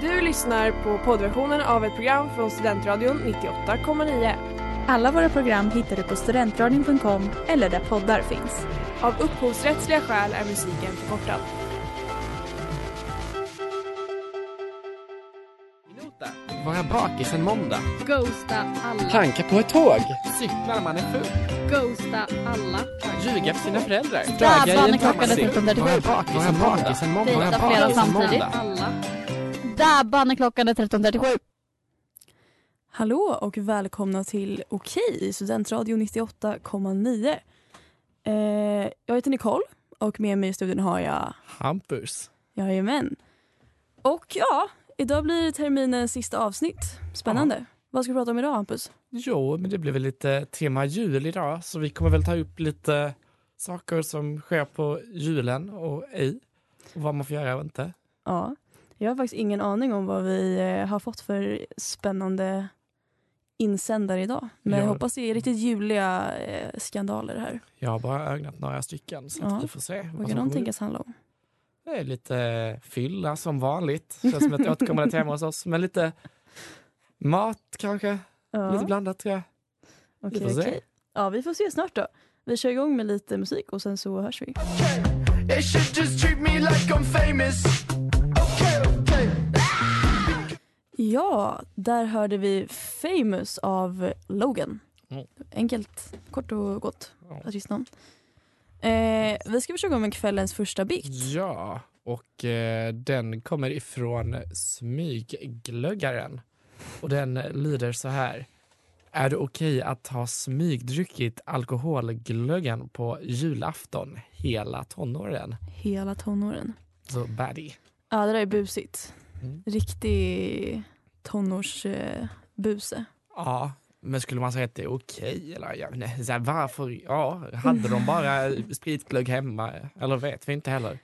Du lyssnar på poddversionen av ett program från Studentradion 98,9. Alla våra program hittar du på studentradion.com eller där poddar finns. Av upphovsrättsliga skäl är musiken förkortad. Vara bakis en måndag. Ghosta alla. Tanka på ett tåg. Cykla när man är full. Ghosta alla. Ljuga för sina föräldrar. Stabba när klockan är taxi. 13.37. Vara bakis en måndag. Dejta flera samtidigt. Alla. Dabba när klockan är 13.37. Hallå och välkomna till Okej, Studentradio 98,9. Eh, jag heter Nicole och med mig i studion har jag Hampus. Jajamän. Och ja, idag blir terminens sista avsnitt. Spännande. Vad ska vi prata om idag Hampus? Jo, men det blir väl lite tema jul idag, så vi kommer väl ta upp lite saker som sker på julen och ej. Och vad man får göra och inte. Ja, jag har faktiskt ingen aning om vad vi eh, har fått för spännande insändare idag. Men Ja. jag hoppas det är riktigt juliga eh, skandaler här. Jag har bara ögnat några stycken, så Ja. att vi får se. Vad som kan de kommer ut. tänkas handla om? Det är lite fylla som vanligt. Känns som ett återkommande tema hos oss. Men lite mat kanske. Ja, Lite blandat tror jag. okej, vi får se. okej. Ja, vi får se snart då. Vi kör igång med lite musik och sen så hörs vi. They should just treat me like I'm famous. Okay, okay. Ja, där hörde vi Famous av Logan. Mm. Enkelt, kort och gott Ja. artistnamn. Eh, vi ska försöka med kvällens första bikt. Ja, och eh, den kommer ifrån Smygglöggaren. Och den lyder så här. Är det okej att ha smygdruckit alkoholglöggen på julafton hela tonåren? Hela tonåren. Så baddie. Ja, det där är busigt. Mm. Riktig tonårsbuse. Eh, buse. Ja, men skulle man säga att det är okej? Eller jag vet inte, så här, varför? Ja, hade de bara spritglögg hemma? Eller vet vi inte heller.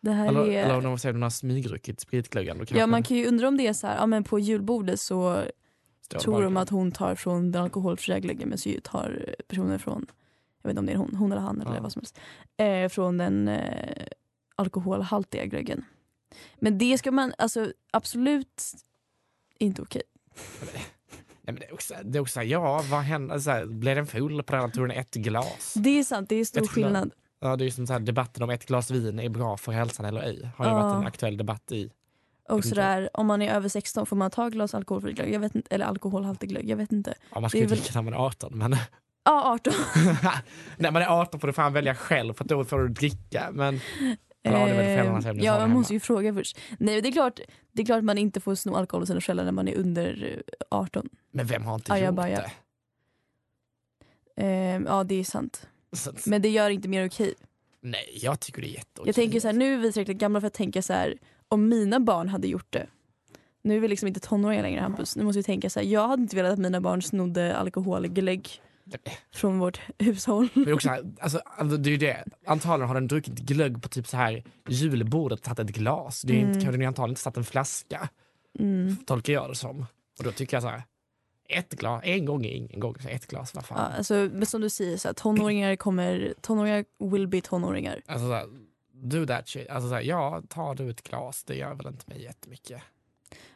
det här Eller, är... eller om de säger att de har smygdruckit spritglöggen. Då kanske eh, ja, man kan ju undra om det är så här, ja, men på julbordet så står tror bara- de att hon tar från den alkoholfria glöggen men så ju tar personen från, jag vet inte om det är hon, hon eller han eller Ja. vad som helst, eh, från den eh, alkoholhaltiga glöggen. Men det ska man, alltså absolut inte okej. Nej, men det, är också, det är också, ja, vad hände? Så här, blev den full på den här turen ett glas? Det är sant, det är stor Jag tycker skillnad. Ja, det är ju som så här, debatten om ett glas vin är bra för hälsan eller ej. Har ju varit Ja. en aktuell debatt i. Och inte. sådär, om man är över 16 får man ta ett glas alkoholfri glögg, jag vet inte, eller alkoholhaltig glögg, jag vet inte. Ja, man Det ska är ju väl- dricka när man är 18, men Ja, 18. när man är 18 får du fan välja själv för att då får du dricka. Men Eller, ja, det är väl Eh, föräldrarna som blir Ja, såna man hemma. måste ju fråga först. Nej, det är klart, det är klart man inte får sno alkohol hos sina föräldrar när man är under eh, 18. Men vem har inte gjort Ajabaja. det? Ehm, ja, det är sant. Så, att- Men det gör inte mer okej. nej, jag tycker det är jätteokej. Jag tänker så här, nu är vi tillräckligt gamla för att tänka så här, om mina barn hade gjort det. Nu är vi liksom inte tonåringar längre Hampus. Nu måste vi tänka så här, jag hade inte velat att mina barn snodde alkoholglögg från vårt hushåll. Men också, här, alltså, alltså, det är ju det. Antagligen har den druckit glögg på typ så här julbordet, tagit ett glas. Det är ju inte, kan den ju antagligen inte satt en flaska, Mm. tolkar jag det som. Och då tycker jag så här, ett glas, en gång är ingen gång. Så ett glas, vad Ja, fan. alltså, men som du säger, så här, tonåringar kommer, tonåringar will be tonåringar. Alltså såhär, do that shit. Alltså såhär, ja, tar du ett glas, det gör väl inte mig jättemycket.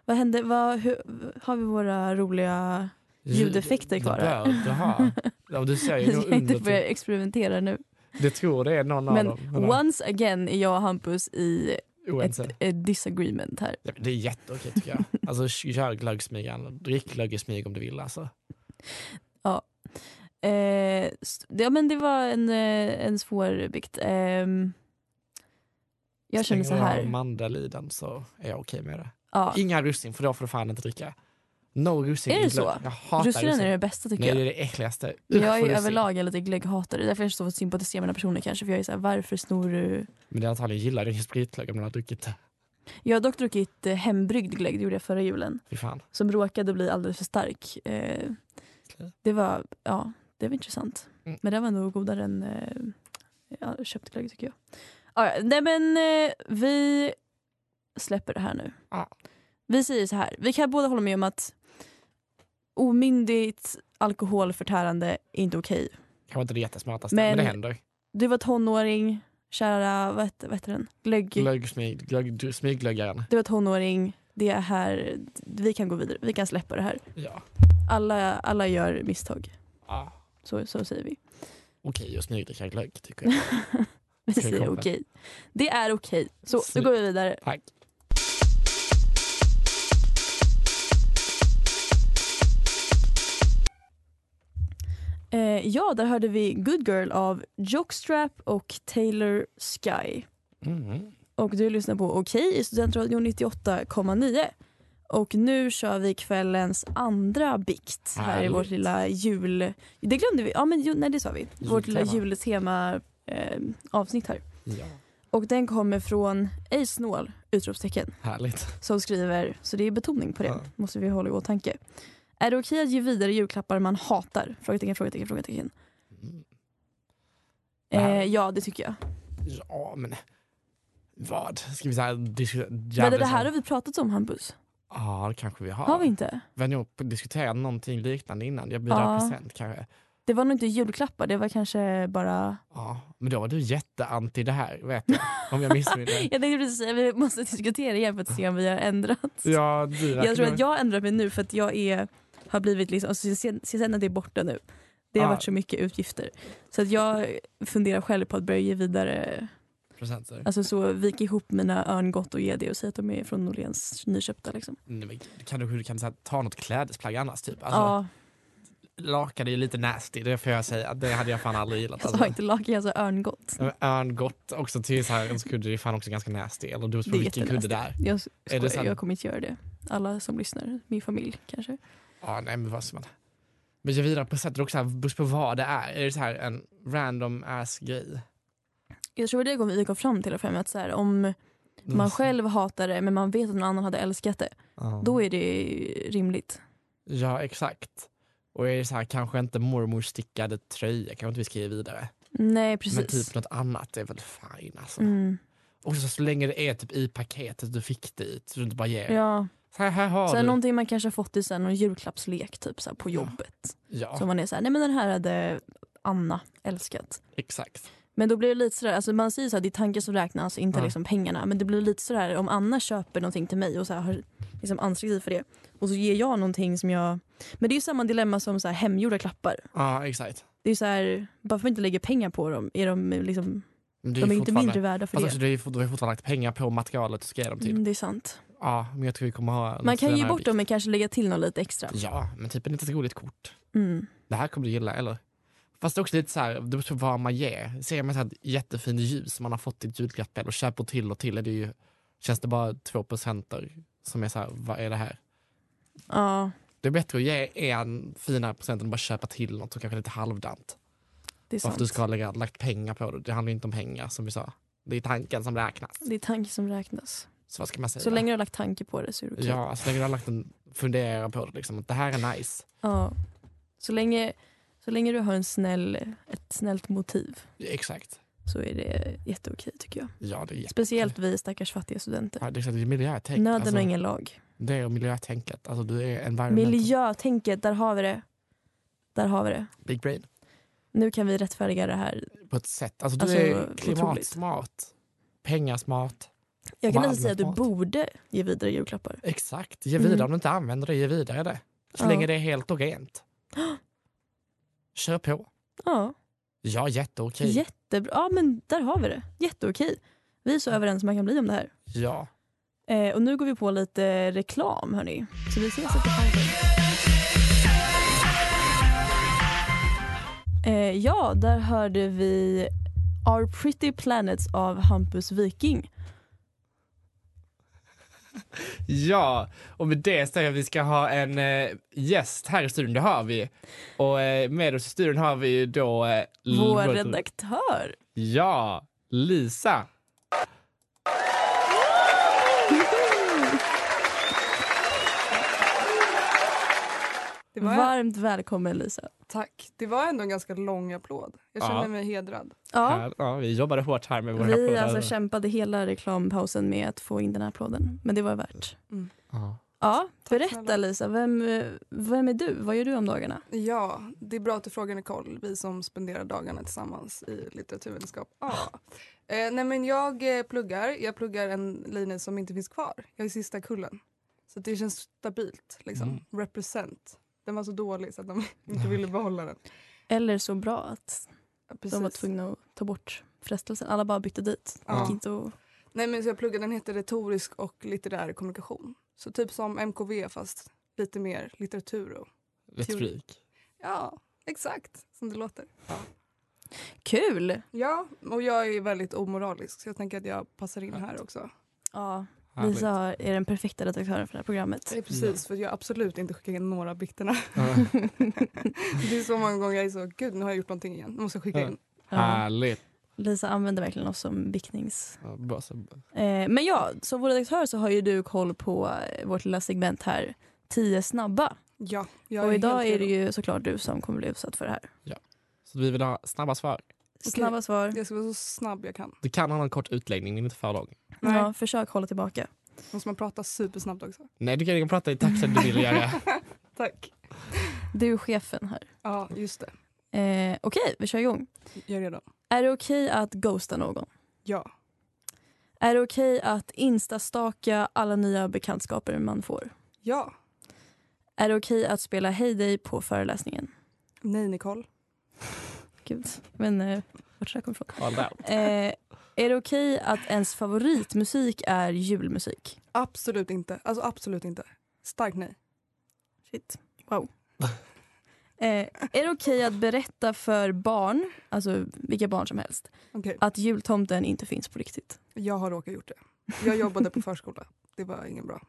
Vad hände, vad, hur, har vi våra roliga... Ljudeffekter kvar Det här. bör du ha. Ja, du ser ju Jag nog ska inte under. börja till- experimentera nu. Du tror det är någon Men av dem. eller? once again är jag och Hampus i ett, Oense. ett disagreement här. Ja, men Det är jätteokej tycker jag. Alltså kör glöggsmygan, drick glögg i smyg om du vill alltså. Eh, st- ja, men det var en, eh, en svår bikt. Ehm, jag känner så Slänger du av här. mandel i den så är jag okej med det. Ja, Inga russin för då får du fan inte dricka. No russin Är det i glögg. så? Jag hatar russin. Russinen är det bästa tycker Nej, det jag. är det äckligaste. Men Usch, jag är russin. överlag en lite glögghatare. Därför är jag så svårt att sympatisera med den här personen kanske. För jag är så här, varför snor du? Men det är antagligen gillar din spritglögg om du har druckit det. Jag har dock druckit eh, hembryggd glögg, det gjorde jag förra julen. Fy fan. Som råkade bli alldeles för stark. Eh, det var, ja, det var intressant. Mm. Men den var nog godare än eh, ja, köpt glögg tycker jag. Ah, ja. nej men eh, vi släpper det här nu. Ja. Vi säger så här, vi kan båda hålla med om att omyndigt alkoholförtärande är inte okej. Kanske inte det jättesmartaste, Men- men det händer. Du var tonåring, kära, vad hette, vad hette den? Glögg. Glögg, smyg, glögg, du, smyglöggaren. Du var tonåring, det är här, vi kan gå vidare, vi kan släppa det här. Ja. Alla, alla gör misstag, ja. så, så säger vi. Okej och smygdricka glögg tycker jag. Vi Ska vi säger komma? okej. Det är okej. Så, nu Snyggt. går vi vidare. Tack. Eh, ja, där hörde vi Good Girl av Jockstrap och Taylor Sky. Mm. Och du lyssnar på Okej i Studentradion 98,9. Och nu kör vi kvällens andra bikt här i Härligt. vårt lilla jul... Det glömde vi. Ja, men ju- nej, det sa vi. Vårt lilla Jultema. jultema eh, avsnitt här. Ja, Och den kommer från ej snål! Utropstecken härligt. som skriver, så det är betoning på det, Ja. måste vi hålla i åtanke. Är det okej att ge vidare julklappar man hatar? Frågetecken, frågetecken, frågetecken. Mm. Eh, Här. ja, det tycker jag. Ja, men vad? Ska vi säga diskutera? Men det här har vi pratat om Hampus. Ja, det kanske vi har. Har vi inte? Vi har nog diskuterat någonting liknande innan. Jag bjuder Ja. present kanske. Det var nog inte julklappar, det var kanske bara... Ja, men då var du jätteanti det här, vet jag. Om jag missminner mig. Jag tänkte precis säga, vi måste diskutera igen för att se om vi har ändrat. ja, du Jag tror att jag har ändrat mig nu för att jag är, har blivit liksom, alltså, CSN är borta nu. Det har Ah. varit så mycket utgifter. Så att jag funderar själv på att börja ge vidare Presenter. Alltså så vik ihop mina örngott och ge det och säg att de är från Norléns nyköpta liksom. Nej, men Kan du, du kan så här, ta något klädesplagg annars typ? Alltså, ja, Lakan är ju lite nasty, det får jag säga. Det hade jag fan aldrig gillat. jag sa Alltså. inte lakan, jag sa örngott. Men Örngott också till så här, en kudde det är fan också ganska nasty. Eller du på Det är vilken kudde jättenasty. där. Jag, Är det sant? skojar, jag kommer inte göra det. Alla som lyssnar, min familj kanske. Ja, nej men vad som man... Men jag vidare på sättet också, här, beror på vad det är. Är det så här en random ass grej? Jag tror det kom, vi kom fram till för mig att så här, Mm. om man själv hatar det men man vet att någon annan hade älskat det, Ja. då är det rimligt. Ja, exakt. Och är det så här, kanske inte mormors stickade tröja, kanske inte vi ska ge vidare. Nej Men precis. typ något annat är väl fine alltså. Mm. Och så, så länge det är typ i paketet du fick det i, så du inte bara ger. Ja. Så här, här har Sen du. någonting man kanske har fått i sen, någon julklappslek typ så här, på Ja. jobbet. Ja, Som man är så här, nej men den här hade Anna älskat. exakt. Men då blir det lite sådär, alltså man säger så här, det är tanken som räknas, inte Ja. liksom pengarna. Men det blir lite sådär om Anna köper någonting till mig och så här, har liksom ansträngt sig för det. Och så ger jag någonting som jag... Men det är ju samma dilemma som så här, hemgjorda klappar. Ja, exakt. Det är så här, bara för att man inte lägger pengar på dem, är de, liksom, Men det de är inte fortfarande- mindre värda för Fast det. alltså, du har ju fort- du har ju fortfarande lagt pengar på materialet du ska ge dem till. Mm, det är sant. Ja, men jag tror vi kommer ha... Man lite kan ju ge senare bort dem men kanske lägga till något lite extra. bikt. Ja, men typ en liten roligt kort. Mm. Det här kommer du gilla, eller? Fast det är också lite så här, det beror på vad man ger. Ser man så här ett jättefint ljus som man har fått i ett julklapp eller köper till och till är det ju, känns det bara två procenter som är så här, vad är det här? Ja, Det är bättre att ge en finare procent än att bara köpa till något som kanske är lite halvdant. det Bara för är sant. att du ska ha lägga- lagt pengar på det. Det handlar ju inte om pengar som vi sa. Det är tanken som räknas. Det är tanken som räknas. Så vad ska man säga? Så länge du har lagt tanke på det så är det okej. Ja, så länge du har lagt en fundera på det liksom. att Det här är nice. Ja. Så, länge, så länge du har en snäll, ett snällt motiv. Exakt. så är det jätteokej tycker jag. Ja, det är jätte... Speciellt vi stackars fattiga studenter. Ja, det är exakt, det är miljötänk. Nöden alltså, har ingen lag. Det är miljötänket. Alltså, du är environmental. Miljötänket, där har vi det. Där har vi det. Big brain. Nu kan vi rättfärdiga det här. På ett sätt. Alltså, du Alltså, är otroligt. klimatsmart. Pengasmart. Jag kan Wow, nästan säga att du smart. borde ge vidare julklappar. Exakt. Ge Mm. vidare om du inte använder det. Ge vidare det. Så Ja. länge det är helt och rent. Kör på. Ja, Ja, jätteokej. jättebra. Ja, men där har vi det. Jätteokej. Vi är så överens man kan bli om det här. ja. Eh, och nu går vi på lite reklam hörni. Så vi ses efter pausen. Eh, ja, där hörde vi Our Pretty Planets av Hampus Viking. Ja, och med det säger jag att vi ska ha en eh, gäst här i studion. Det har vi. Och eh, med oss i studion har vi ju då... Eh, Vår L- redaktör. Ja, Lisa. Det var, Varmt välkommen Lisa. Tack. Det var ändå en ganska lång applåd. Jag känner Ja. mig hedrad. Ja, Här, ja, vi jobbade hårt här med våra vi applåder. alltså kämpade hela reklampausen med att få in den här applåden. Men det var värt. Ja. Ja, berätta snälla. Lisa, vem, eh, vem är du? Vad gör du om dagarna? Ja, det är bra att du frågar Nicole, vi som spenderar dagarna tillsammans i litteraturvetenskap. Ja. Eh, nej men jag eh, pluggar, jag pluggar en linje som inte finns kvar. Jag är sista kullen. Så det känns stabilt. Liksom. Mm. Represent. Den var så dålig så att de inte ville behålla den. Eller så bra att Ja, de var precis. tvungna att ta bort frestelsen. Alla bara bytte dit. Det Ja. gick inte att... Nej, men så jag pluggade, den heter retorisk och litterär kommunikation. Så typ som MKV fast lite mer litteratur och Retorik. ja, exakt som det låter. Kul! Ja, och jag är väldigt omoralisk så jag tänker att jag passar in här också. Ja, Härligt. Lisa är den perfekta redaktören för det här programmet. Det Mm. är precis för att jag absolut inte skickar in några bikterna. Ja. Det är så många gånger jag är så, gud nu har jag gjort någonting igen, nu måste jag skicka Ja. in. Ja. Härligt. Lisa använder verkligen oss som biktnings... Ja, bra, så- Eh, men ja, som vår redaktör så har ju du koll på eh, vårt lilla segment här, 10 snabba. Ja, jag Och är idag helt är det redo. ju såklart du som kommer bli utsatt för det här. Så vi vill ha snabba svar. Snabba svar. Jag ska vara så snabb jag kan. Du kan ha en kort utläggning, men inte för lång. Nej. Ja, försök hålla tillbaka. Måste man prata supersnabbt också? Nej, du kan ju prata i takt som du vill göra. Tack. Du är chefen här. Ja, just det. Eh, Okej, vi kör igång. Jag är redo. Är det okej att ghosta någon? Ja. Är det okej att instastaka alla nya bekantskaper man får? Ja. Är det okej att spela Heyday på föreläsningen? Nej, Nicole. Gud, men eh, vart ska jag komma ifrån? All out. Eh, är det okej att ens favoritmusik är julmusik? Absolut inte. Alltså absolut inte. Starkt nej. Shit. Wow. Eh, är det okej att berätta för barn, alltså vilka barn som helst, Okej, att jultomten inte finns på riktigt? jag har råkat gjort det. Jag jobbade på förskola. Det var ingen bra.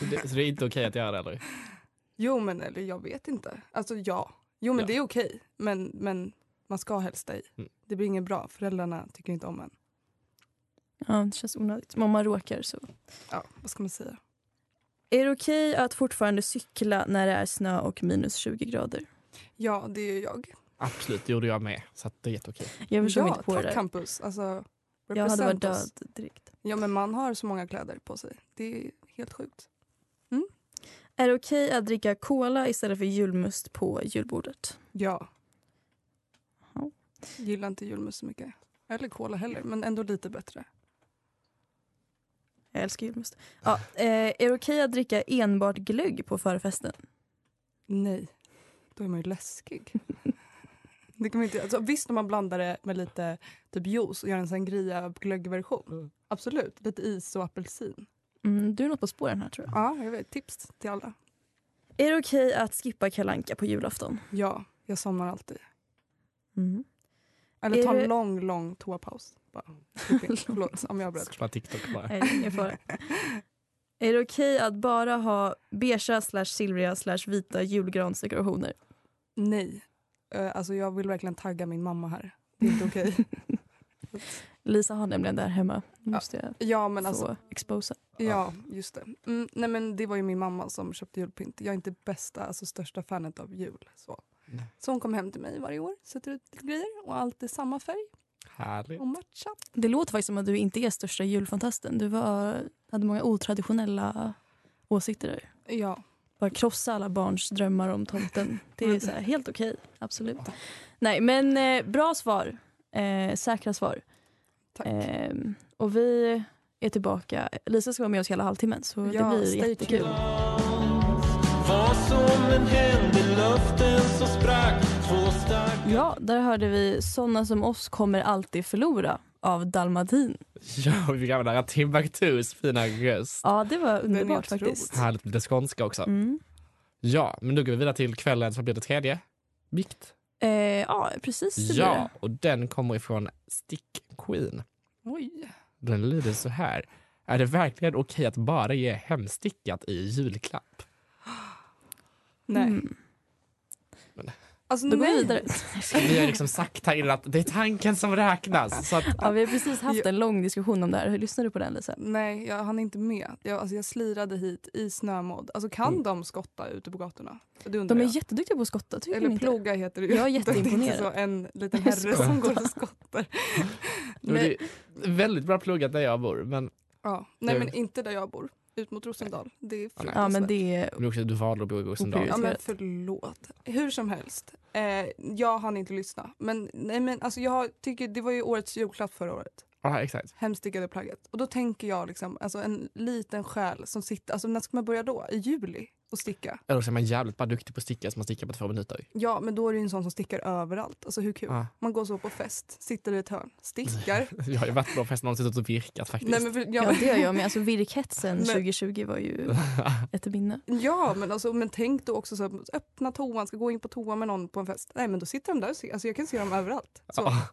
Så det, så det är inte okej att göra det, eller? Jo, men eller jag vet inte. Alltså ja. Jo, men Ja. det är okej. Men, men man ska helst dig. Mm. Det blir inget bra. Föräldrarna tycker inte om en. Ja, det känns onödigt. Men om man råkar så. Ja, vad ska man säga? Är det okej att fortfarande cykla när det är snö och minus 20 grader? Ja, det är jag. Absolut, det gjorde jag med. Så att det är jätteokej. Jag förstår mig Ja, inte på det tack där. campus. Alltså, Jag hade varit represent oss. död direkt. Ja, men man har så många kläder på sig. Det är helt sjukt. Är det okej att dricka cola istället för julmust på julbordet? Ja. Ja. Gillar inte julmust så mycket. Eller cola heller, men ändå lite bättre. Jag älskar julmust. Ja, eh, är det okej att dricka enbart glögg på förfesten? Nej, då är man ju läskig. Det kan man inte, alltså, visst, om man blandar det med lite typ juice och gör en sangria glöggversion. Absolut, lite is och apelsin. Mm, du är något på spåren här tror jag. Ja, jag vet. Tips till alla. Är det okej att skippa kalanka på julafton? Mm, Ja, jag somnar alltid. Är Eller tar det- en lång, lång toapaus. Bara. klipp in. Förlåt om jag bröt. Skapa TikTok bara. Nej, ingen fara. Är det okej att bara ha beigea slash silvriga slash vita julgransdekorationer? Nej, uh, alltså, jag vill verkligen tagga min mamma här. Det är inte okej. Lisa har nämligen det här hemma. Måste jag Ja, men få alltså, exposa. Ja, just det. Mm, nej, men det var ju min mamma som köpte julpynt. Jag är inte bästa, alltså största fanet av jul. Så. Nej. så hon kom hem till mig varje år, sätter ut lite grejer och alltid samma färg Härligt. och matchat. Det låter faktiskt som att du inte är största julfantasten. Du var, hade många otraditionella åsikter där. Ja, Bara krossa alla barns drömmar om tomten. Det Mm. är så här, helt okej. Absolut. Nej, men eh, bra svar. Eh, säkra svar. tack. Ehm, och vi är tillbaka. Lisa ska vara med oss hela halvtimmen så Ja, det blir stay jättekul. Vad som än hände, luften så sprack två starka Ja, där hörde vi Såna som oss kommer alltid förlora av Dalmatin. Ja, vi fick använda Timbuktus fina röst. Ja, det var är underbart otrolig. faktiskt. Härligt med lite skånska också. Mm. Ja, men nu går vi vidare till kvällen som blir det tredje. Bikt. Eh, ja, precis det blir Ja, det. och den kommer ifrån Stick Queen. Oj. Den lyder så här. Är det verkligen okej att bara ge hemstickat i julklapp? Nej. Mm. Alltså, Då går nej. vi vidare. Vi har liksom sagt här innan att det är tanken som räknas. Så att, Ja, vi har precis haft en lång diskussion om det här. Hur lyssnar du på den Lisa? Nej, jag hann inte med. Jag, alltså, jag slirade hit i snömodd. Alltså, kan Mm. de skotta ute på gatorna? Det undrar De är jag. jätteduktiga på att skotta, tycker ni Eller inte? ploga heter det ju. Jag är Det inte jätteimponerad. så en liten herre som går och skottar. men det är väldigt bra pluggat där jag bor. Men, Ja. Nej, Det- men inte där jag bor. Ut mot Rosendal. Det är fruktansvärt. Ja, men det är... men också du valde att bo i Rosendal. Ja, men prioriterat. förlåt. Hur som helst, eh, jag hann inte lyssna. Men, nej, men alltså, jag tycker det var ju årets julklapp förra året. Ja, exakt. hemstickade plagget. Och då tänker jag liksom, alltså en liten själ som sitter, alltså när ska man börja då? I juli? Och sticka? Eller så är man jävligt bara duktig på att sticka så man stickar på två minuter. Ja, men då är det ju en sån som stickar överallt. Alltså hur kul? Ja. Man går så på fest, sitter i ett hörn, stickar. Jag har ju varit på de flesta någon suttit och virkat faktiskt. Nej, men, för- Ja, ja, det gör jag med. Alltså, virkhetsen Men- 2020 var ju ett minne. ja, men, alltså, men tänk då också så här, öppna toan, ska gå in på toa med någon på en fest. Nej, men då sitter de där och ser. Alltså jag kan se dem överallt. Så. Ja.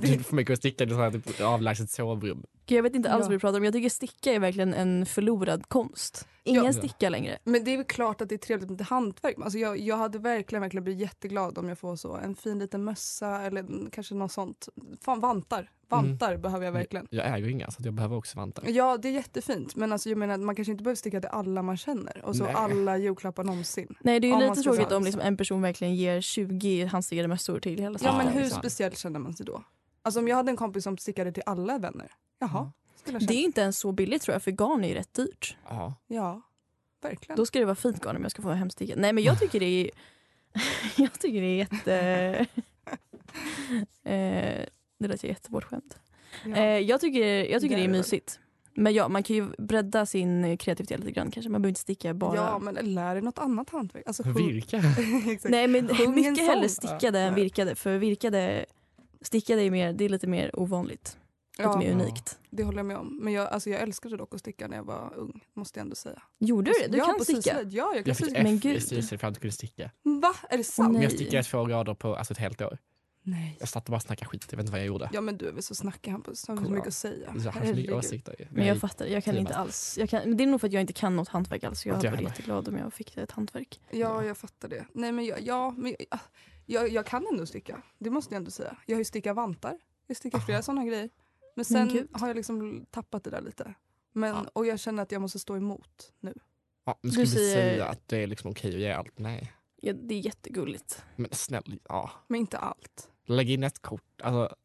det, Du får mycket att sticka i ett sånt här typ, avlägset sovrum. Gud, jag vet inte alls Ja. vad du pratar om. Jag tycker sticka är verkligen en förlorad konst. Ingen Ja. stickar längre. men det är väl klart att det är trevligt med lite hantverk. Alltså jag, jag hade verkligen, verkligen blivit jätteglad om jag får så en fin liten mössa eller mm, kanske något sånt. Fan, vantar. Vantar behöver jag verkligen. Jag äger ju inga så att jag behöver också vantar. Ja, det är jättefint. Men alltså, jag menar, man kanske inte behöver sticka till alla man känner och så Nej. alla julklappar någonsin. Nej, det är ju Om man lite ska tråkigt säga om så. liksom, en person verkligen ger 20 handstickade mössor till hela Ja, Ja, men släkten, hur liksom. speciell känner man sig då? Alltså om jag hade en kompis som stickade till alla vänner. Jaha, Mm. skulle jag Det är känna. inte ens så billigt tror jag, för garn är ju rätt dyrt. Ja. Ja, verkligen. Då ska det vara fint garn om jag ska få hemsticka. Nej men jag tycker det är, jag tycker det är jätte... eh, det lät ju jättebortskämt. Ja. Eh, jag tycker, jag tycker Det det är är det. mysigt. Men ja, man kan ju bredda sin kreativitet lite grann kanske. Man behöver inte sticka bara... Ja, men lär dig något annat hantverk. Alltså, sjung- Virka. Exakt. Nej men Sjung en mycket sång. hellre stickade Ja. än virkade. För virkade, stickade är, mer, det är lite mer ovanligt. ja, Lite mer unikt. det håller jag med om. Men jag, alltså, jag älskade dock att sticka när jag var ung, måste jag ändå säga. Gjorde du det? Du ja, kan på sticka? syslöjd. Ja, Alltså, jag kan Jag fick sticka. Alltså, Men F i gud. styrelsen för att jag inte kunde sticka. Va? Är det sant? Men jag Nej. stickade två grader på alltså, ett helt år. Nej. Jag satt och bara snackade skit. Jag vet inte vad jag gjorde. Ja, men du är väl så snackig Hampus. Har vi så Kolla. mycket att säga? Jag har så mycket Herregud. åsikter. Men jag Nej. fattar, jag kan det är inte bara- alls. Jag kan, men det är nog för att jag inte kan något hantverk alls. Jag Inte hade jag varit heller. jätteglad om jag fick ett hantverk. Ja, jag fattar det. Nej, men jag, ja, men jag, ah, jag, jag kan ändå sticka. Det måste jag ändå säga. Jag har ju stickat vantar. Jag stickar Ah. flera sådana grejer. Men sen Men gud. har jag liksom tappat det där lite. Men, Ja. Och jag känner att jag måste stå emot nu. Ja, nu ska vi säger- säga att det är liksom okej att ge allt. Nej. Ja, det är jättegulligt. Men snäll, ja. Men inte allt. Lägg in ett kort. Alltså,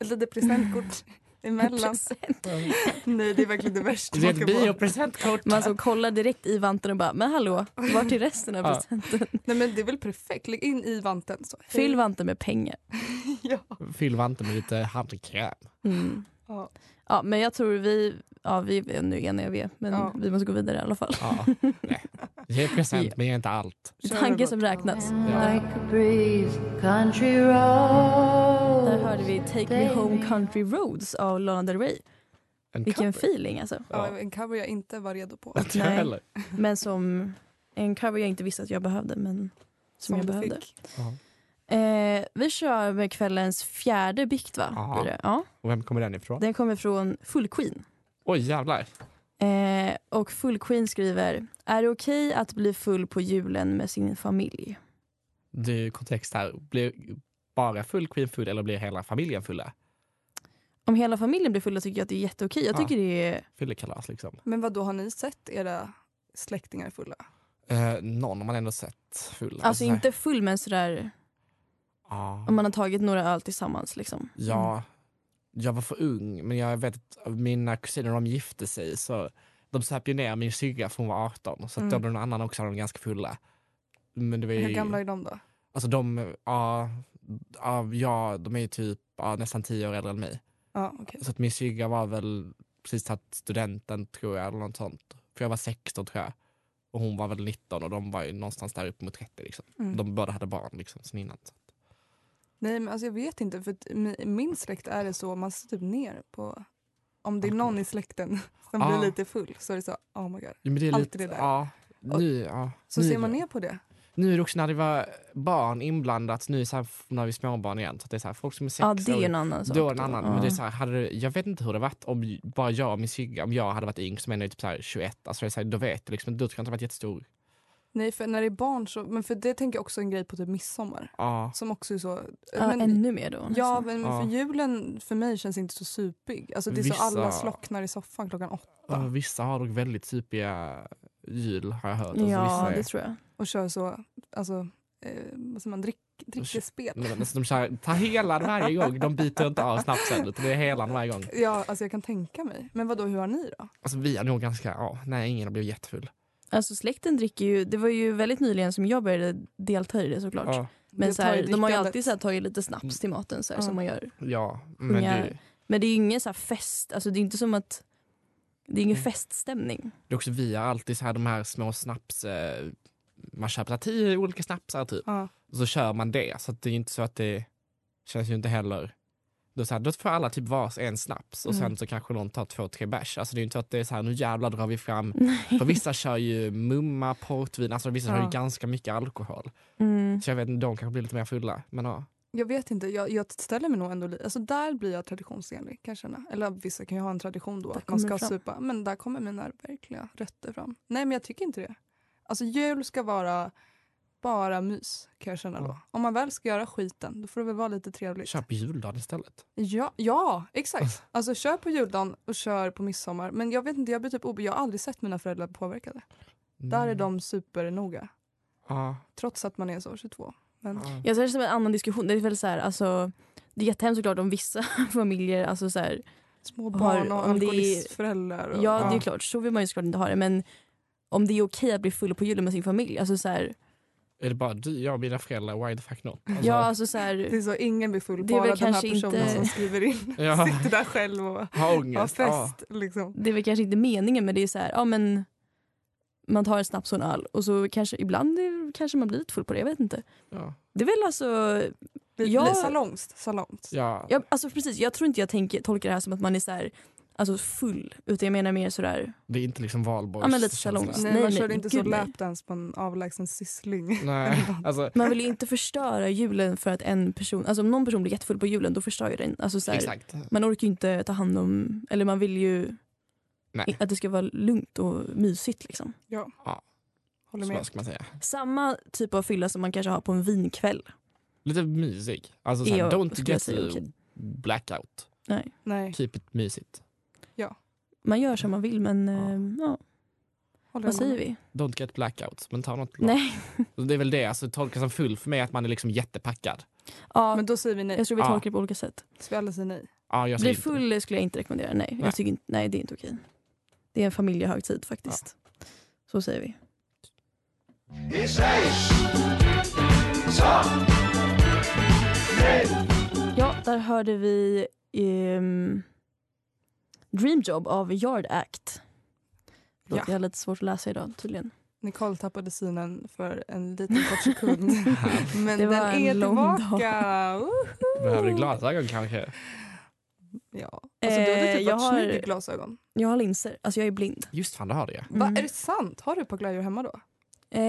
Ett litet presentkort emellan. Nej, det är verkligen det värsta det är man kan ett få. biopresentkort. Man så kollar direkt i vanten och bara, men hallå, vart är resten av Ja. presenten? Nej, men det är väl perfekt. Lägg in i vanten. Så. Hej. Fyll vanten med pengar. Ja. Fyll vanten med lite handkräm. Mm. Ja. Ja, men jag tror vi, ja vi är nu eniga vi är, men Ja. vi måste gå vidare i alla fall. Ja, nej. Ge present, men ge inte allt. Det är Kör tanken det som bara. räknas. Ja. Like a breeze, country road. Där hörde vi Take Me Home Country Roads av Lana Del Rey. En Vilken cover. feeling alltså. Ja, en cover jag inte var redo på. Inte jag Nej. heller. Men som en cover jag inte visste att jag behövde, men som, jag du behövde. fick. Ja. Eh, vi kör med kvällens fjärde bikt va? Ja. Blir det? Ja. Och vem kommer den ifrån? Den kommer från Full Queen. Oj jävlar. Eh, och Full Queen skriver, är det okej att bli full på julen med sin familj? Det är ju kontext här. Blir bara full queen full eller blir hela familjen fulla? Om hela familjen blir fulla tycker jag att det är jätteokej. Jag Ja. tycker det är... Fyllekalas liksom. Men vad då har ni sett era släktingar fulla? Eh, någon har man ändå sett full. Alltså så här- inte full men sådär Ja. om man har tagit några öl tillsammans liksom. Ja, jag var för ung, men jag vet att mina kusiner de gifte sig så de söp ju ner min syrra för hon var 18 så att då Mm. blev någon annan också de ganska fulla. Men det var ju, Hur gamla är de då? Alltså de, ja, ja, ja, de är ju typ ja, nästan 10 år äldre än mig. Ja, okej. Så att min syrra var väl precis tagit studenten tror jag eller något sånt. För jag var 16 tror jag. Och hon var väl 19 och de var ju någonstans där upp mot 30 liksom. Mm. De båda hade barn liksom sen innan. Så. Nej, men alltså jag vet inte. För att i min släkt är det så, man ser typ ner på... Om det är någon i släkten som Ah. blir lite full så är det så, oh my god. Ja, men det är Alltid lite, det där. Ja, nu, ja, Så nu, ser man ner på det. Nu är det också när det var barn inblandat, nu är det så här, f- när vi är småbarn igen. Så att det är så här, folk som är sex Ja det är år, en annan sak. då är det en annan. Men det är Ja. så här, hade, det- jag vet inte hur det varit om j- bara jag och min syrra, om jag hade varit yngst som ändå är typ så här 21, alltså det är så här, då vet du liksom, då tror jag inte det varit jättestor. Nej, för när det är barn så... Men för det tänker jag också är en grej på typ midsommar. Ja. Som också är så... eh, Ja, men, ännu mer då. ja, nästan. men Ja. för julen för mig känns inte så supig. Alltså det är så Vissa- alla slocknar i soffan klockan åtta Och vissa har dock väldigt supiga jul har jag hört. Alltså, ja vissa är, det tror jag. och kör så, alltså, eh, vad säger man, drick, drickespel. Men, alltså, de kör, tar helan varje gång, de byter inte av snapsen utan det är helan varje gång. Ja, alltså jag kan tänka mig. Men vad då hur har ni då? Alltså vi är nog ganska, ja, nej ingen har blivit jättefull. Alltså släkten dricker ju, det var ju väldigt nyligen som jag började delta i det såklart. Ja, Mm. Men Det så här, tar i de har ju drickandet. alltid så här, tagit lite snaps till maten så här, Ja. som man gör. ja men Unga- det, Men det är ju ingen så här fest, alltså det är inte som att det är ingen Mm. feststämning. Det är också, vi har alltid så här de här små snaps... Eh, man köper så här tio olika snapsar typ. Ja. Och så kör man det. Så att det är inte så att det känns ju inte heller... Då, så här, då får alla typ vars en snaps och sen Mm. så kanske någon tar två, tre bärs. Alltså det är ju inte så att det är så här, nu jävlar drar vi fram. För vissa kör ju mumma, portvin, alltså vissa har Ja. ju ganska mycket alkohol. Mm. Så jag vet inte, de kanske blir lite mer fulla. Men ja. Jag vet inte, jag, jag ställer mig nog ändå lite... Alltså där blir jag traditionsenlig kan jag känna. Eller vissa kan ju ha en tradition då Där att man kommer ska det fram. supa. Men där kommer mina verkliga rötter fram. Nej men jag tycker inte det. Alltså jul ska vara bara mys kan jag känna då. Ja. Om man väl ska göra skiten då får det väl vara lite trevligt. Kör på juldagen istället. Ja, ja exakt. Alltså kör på juldagen och kör på midsommar. Men jag vet inte, jag blir typ obe... Jag har aldrig sett mina föräldrar påverkade. Där är de supernoga. Mm. Ja, Trots att man är så 22. Men ja. Jag ser det som en annan diskussion. Det är väl så här, alltså, det är jättehemskt såklart om vissa familjer, alltså så här, små Har- barn och om det är- alkoholistföräldrar. Och... ja det är Ja. klart, så vill man ju såklart inte ha det men om det är okej att bli full på julen med sin familj, alltså så här, Är det bara du, jag och mina föräldrar, why the fuck not? Alltså, ja alltså så Det här, är så ingen blir full, Det är bara väl den här kanske personen inte- som skriver in. Ja. Sitter där själv och ha har ångest. Ja. fest. Liksom. det är väl kanske inte meningen men det är så här, ja men man tar en snaps och en öl och så kanske ibland är- kanske man blir lite full på det, jag vet inte. Ja. Det är väl alltså Lite Jag- salongs, salongs. Ja. Jag, alltså precis, jag tror inte jag tänker, tolkar det här som att man är så här, alltså full. Utan jag menar mer sådär, Det är inte liksom valborgs Ja, men lite känsla. salongs. Nej, Nej, man nej, körde inte så gud, nej. lapdance på en avlägsen syssling. Nej, alltså, man vill ju inte förstöra julen för att en person, alltså om någon person blir jättefull på julen då förstör ju den. Alltså så här, exakt. man orkar ju inte ta hand om, eller man vill ju Nej. att det ska vara lugnt och mysigt liksom. Håller Så med. vad ska man säga? Samma typ av fylla som man kanske har på en vinkväll. Lite mysig. Alltså såhär, Jag don't skulle get säga the okej. blackout. Nej, Keep it mysigt. Man gör som man vill men Ja. eh, ja, håller vad jag säger med. vi? Don't get blackout. Men ta något långt. Nej. Det är väl det, alltså tolkas som full för mig att man är liksom jättepackad. Ja, Men då säger vi nej. jag tror vi Ja. tolkar det på olika sätt. Så vi alla säger nej. Ja, jag säger Bli Alltså inte. full skulle jag inte rekommendera. Nej, Nej. Jag tycker inte, nej det är inte okej. Det är en familjehögtid faktiskt. Så säger vi. Ja, där hörde vi ehm, Dream Job av Yard Act. Låt, Ja. Jag har lite svårt att läsa idag tydligen. Nicole tappade synen för en liten kort sekund. Men Det var den en är lång tillbaka. Woho! Behöver du glasögon kanske? Ja. Alltså, du hade Eh, typ jag varit har- snygg i glasögon. Jag har linser, alltså jag är blind. Just fan, det har du ju. Va, Mm. är det sant? Har du ett par glajjor hemma då? Eh,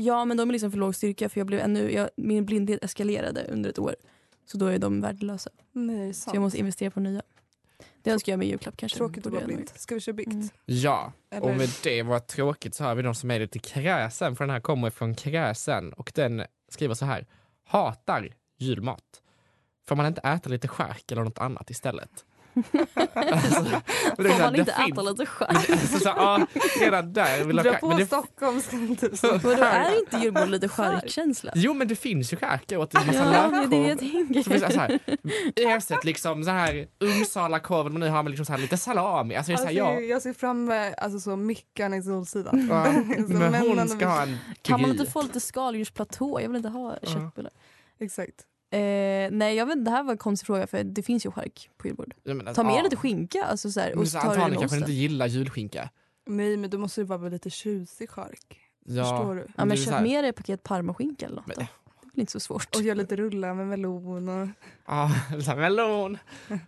ja, men de är liksom för låg styrka för jag blev ännu, jag, min blindhet eskalerade under ett år. Så då är de värdelösa. Nej, är det Så sant? jag måste investera på nya. Det önskar jag mig i julklapp kanske. Tråkigt att Borde vara jag nog blind. Ska vi köra bikt? Mm. Ja, Eller- och med det var tråkigt så har vi någon som är lite kräsen för den här kommer från kräsen och den skriver så här. Hatar julmat. Får man inte äta lite skärk eller något annat istället? alltså, men det är så göra. Får här, man det inte finns- äta lite skärk? Alltså, så, ja, redan där vill jag Dra skär- på men det, Stockholm ska vi typ så. Vadå, är inte julbord lite skärkkänsla? Jo men det finns ju skärkar åt en massa Ja, det är det jag lökkorv. Så finns det tänker. så här, Ersätt liksom så här Uppsalakorven men nu har man liksom så här lite salami. Alltså, det är så Alltså, här, ja, Jag ser fram emot alltså, så Mickan i Solsidan. ja, Alltså, men männen hon och ska ha en Kan man inte gry. få lite skaldjursplatå? Jag vill inte ha köttbullar. Exakt. Eh, nej, jag vet, inte, det här var en konstig fråga för det finns ju skärk på julbord. Ja, men, alltså, Ta med ja. lite skinka alltså så här, Men och så så tar du antagligen den kanske inte osten. gillar julskinka. Nej men du måste ju vara lite tjusig chark. Ja. Förstår du? Ja, Det är men så köp här- med dig ett paket parmaskinka eller något Men- då. Det är väl inte så svårt. Och gör lite rullar med melon. Och... Ja, så här, melon.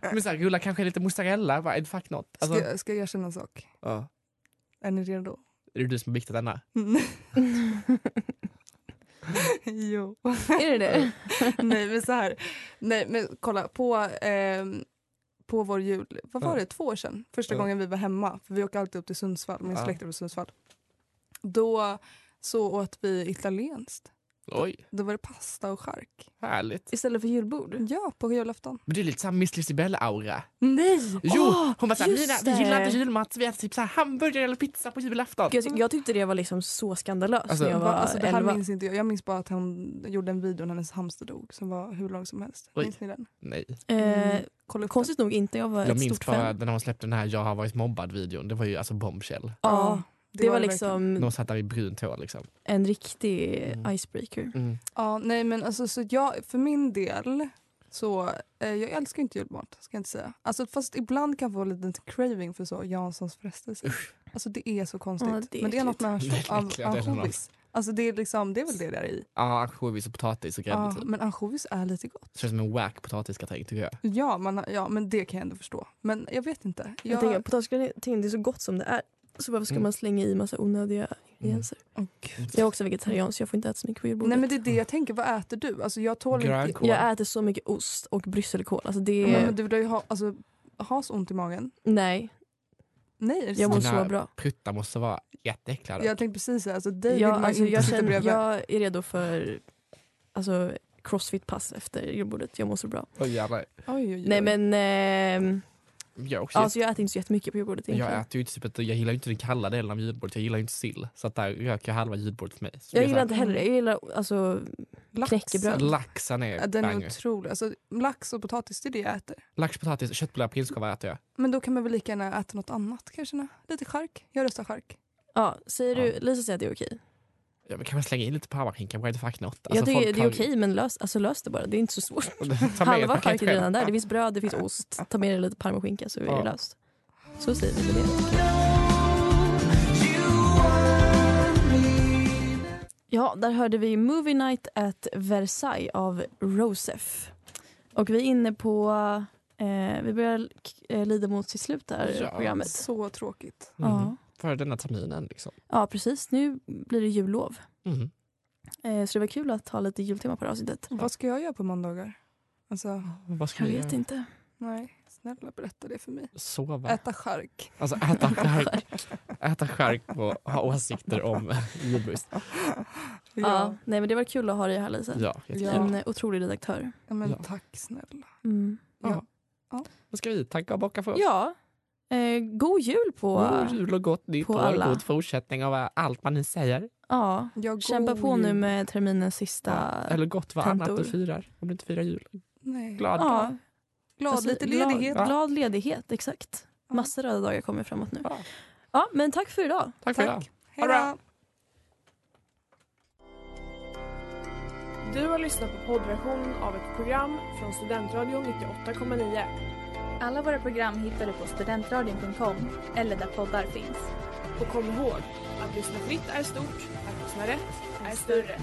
Men så här, rulla kanske lite mozzarella. Vad är det fuck not? Alltså, Ska, ska jag erkänna en sak? ja. Är ni redo? Är det du som har viktat denna? jo. Är det det? Nej men så här. Nej men kolla på, ehm, på vår jul, vad var Ja. det, två år sedan? Första Ja. gången vi var hemma, för vi åker alltid upp till Sundsvall, min Ja. släkt är från Sundsvall. Då så åt vi italienskt. Oj, Då var det pasta och chark. härligt. Istället för julbord? Ja, på julafton. Men det är lite såhär Miss Lisibella-aura. Nej! Jo, Åh, hon var såhär, just Nina, det." vi gillar inte julmat så vi äter typ såhär hamburgare eller pizza på julafton. Jag, ty- jag tyckte det var liksom så skandalöst Alltså, när jag Va, var alltså, det här 11. minns inte jag. Jag minns bara att hon gjorde en video när hennes hamster dog som var hur lång som helst. Oj. Minns ni den? Nej, Eh, Kolla upp konstigt nog inte, jag var Mm. jag ett minns stort bara fan. när hon släppte den här jag har varit mobbad-videon. Det var ju alltså bombshell. den. Ja, det, var verkligen. liksom När hon satt där i brunt hår liksom. en riktig Mm. icebreaker. Mm. Ja, nej men alltså så jag, för min del Så eh, jag älskar inte julmat, ska jag inte säga. Alltså, fast ibland kan jag få en liten craving för så Janssons frestelse. Alltså det är så konstigt. Ja, det är Men det är något med äckligt. ansjo- Det är äckliga av delarna. ansjovis. Alltså det är liksom, det är väl det där i. Ja, ansjovis och potatis och grädde Ja, typ. men ansjovis är lite gott. Det känns som en wack potatisgratäng tycker jag. Ja, man, har- ja, men det kan jag ändå förstå. Men jag vet inte. Jag tänker potatisgratäng det är så gott som det är. Så varför ska Mm. man slänga i massa onödiga ingredienser? Åh, gud. Jag är också vegetarian så jag får inte äta så mycket på julbordet. Nej men det är det jag tänker, vad äter du? Alltså jag tål inte... Grönkål. Jag äter så mycket ost och brysselkål. Alltså det Men, men du vill ju ha, alltså, ha så ont i magen. Nej, Nej, är det jag mår sant? Dina så bra. pruttar måste vara jätteäckliga. Jag tänkte precis säga, alltså dig vill Jag, man alltså, inte jag, sitta känner, bredvid. jag är redo för alltså, crossfit-pass efter julbordet. Jag mår så bra. Oj, jävlar. Oj, oj, oj. Nej men, ehm, Jag, är också alltså, jag äter inte så jättemycket på julbordet jätte- jag egentligen. äter ju inte typ, ett- jag gillar ju inte den kalla delen av julbordet. Jag gillar ju inte sill. Så att där röker jag halva julbordet för mig. Så Jag det är så gillar här- inte heller det. Jag gillar alltså, knäckebröd. Laxen är Ja, Den är banger. otrolig. Alltså, lax och potatis, det är det jag äter. Lax, potatis, köttbullar, prinskorvar äter jag. Men då kan man väl lika gärna äta något annat kanske? Nej? Lite chark. Jag röstar chark. ja, säger du, Ja. Lisa säger att det är okej. Ja, men kan man slänga in lite powerhinken? Why the fuck not? jag tycker Alltså, folk det är har- okej men lös, alltså, lös det bara. Det är inte så svårt. Ta med ett Halva paket charken är själv. redan där. Det finns bröd, det finns ost. Ta med dig lite parmaskinka så är Ja. det löst. Så säger vi det. Ja, där hörde vi Movie Night at Versailles av Rosef. Och vi är inne på... Eh, vi börjar eh, lida mot sitt slut det här Ja. programmet. Så tråkigt. Ja. Mm. För denna terminen liksom. ja, precis. Nu blir det jullov. Mm. Eh, så det var kul att ha lite jultema på det här avsnittet. Vad ska jag göra på måndagar? Alltså, Vad ska Jag vi vet göra? inte. nej. Snälla berätta det för mig. Sova. Äta chark. Alltså äta skärk. äta skärk och ha åsikter om julbrist. Ja. nej, men det var kul att ha dig här, Lisa. Ja, jättekul. Ja. En eh, otrolig redaktör. Ja, men Ja. tack snälla. Mm. Vad ska vi tacka och bocka för oss? Ja. Eh, god jul på... God jul och gott nytt På år. alla. God fortsättning av eh, allt man nu säger. Ja. Ja, god Kämpa på nu jul. med terminens sista... Eller gott vad annat du tantor. firar. Om du inte firar jul. Nej. Glad Ja, Glad, alltså, lite glad- ledighet. Glad, ledighet, exakt. Massa röda dagar kommer framåt nu. Ja. Ja, men tack för idag. Tack för idag. Hej då. Du har lyssnat på poddversionen av ett program från Studentradion 98,9. Alla våra program hittar du på studentradion.com eller där poddar finns. Och kom ihåg, att lyssna fritt är stort, att lyssna rätt är större.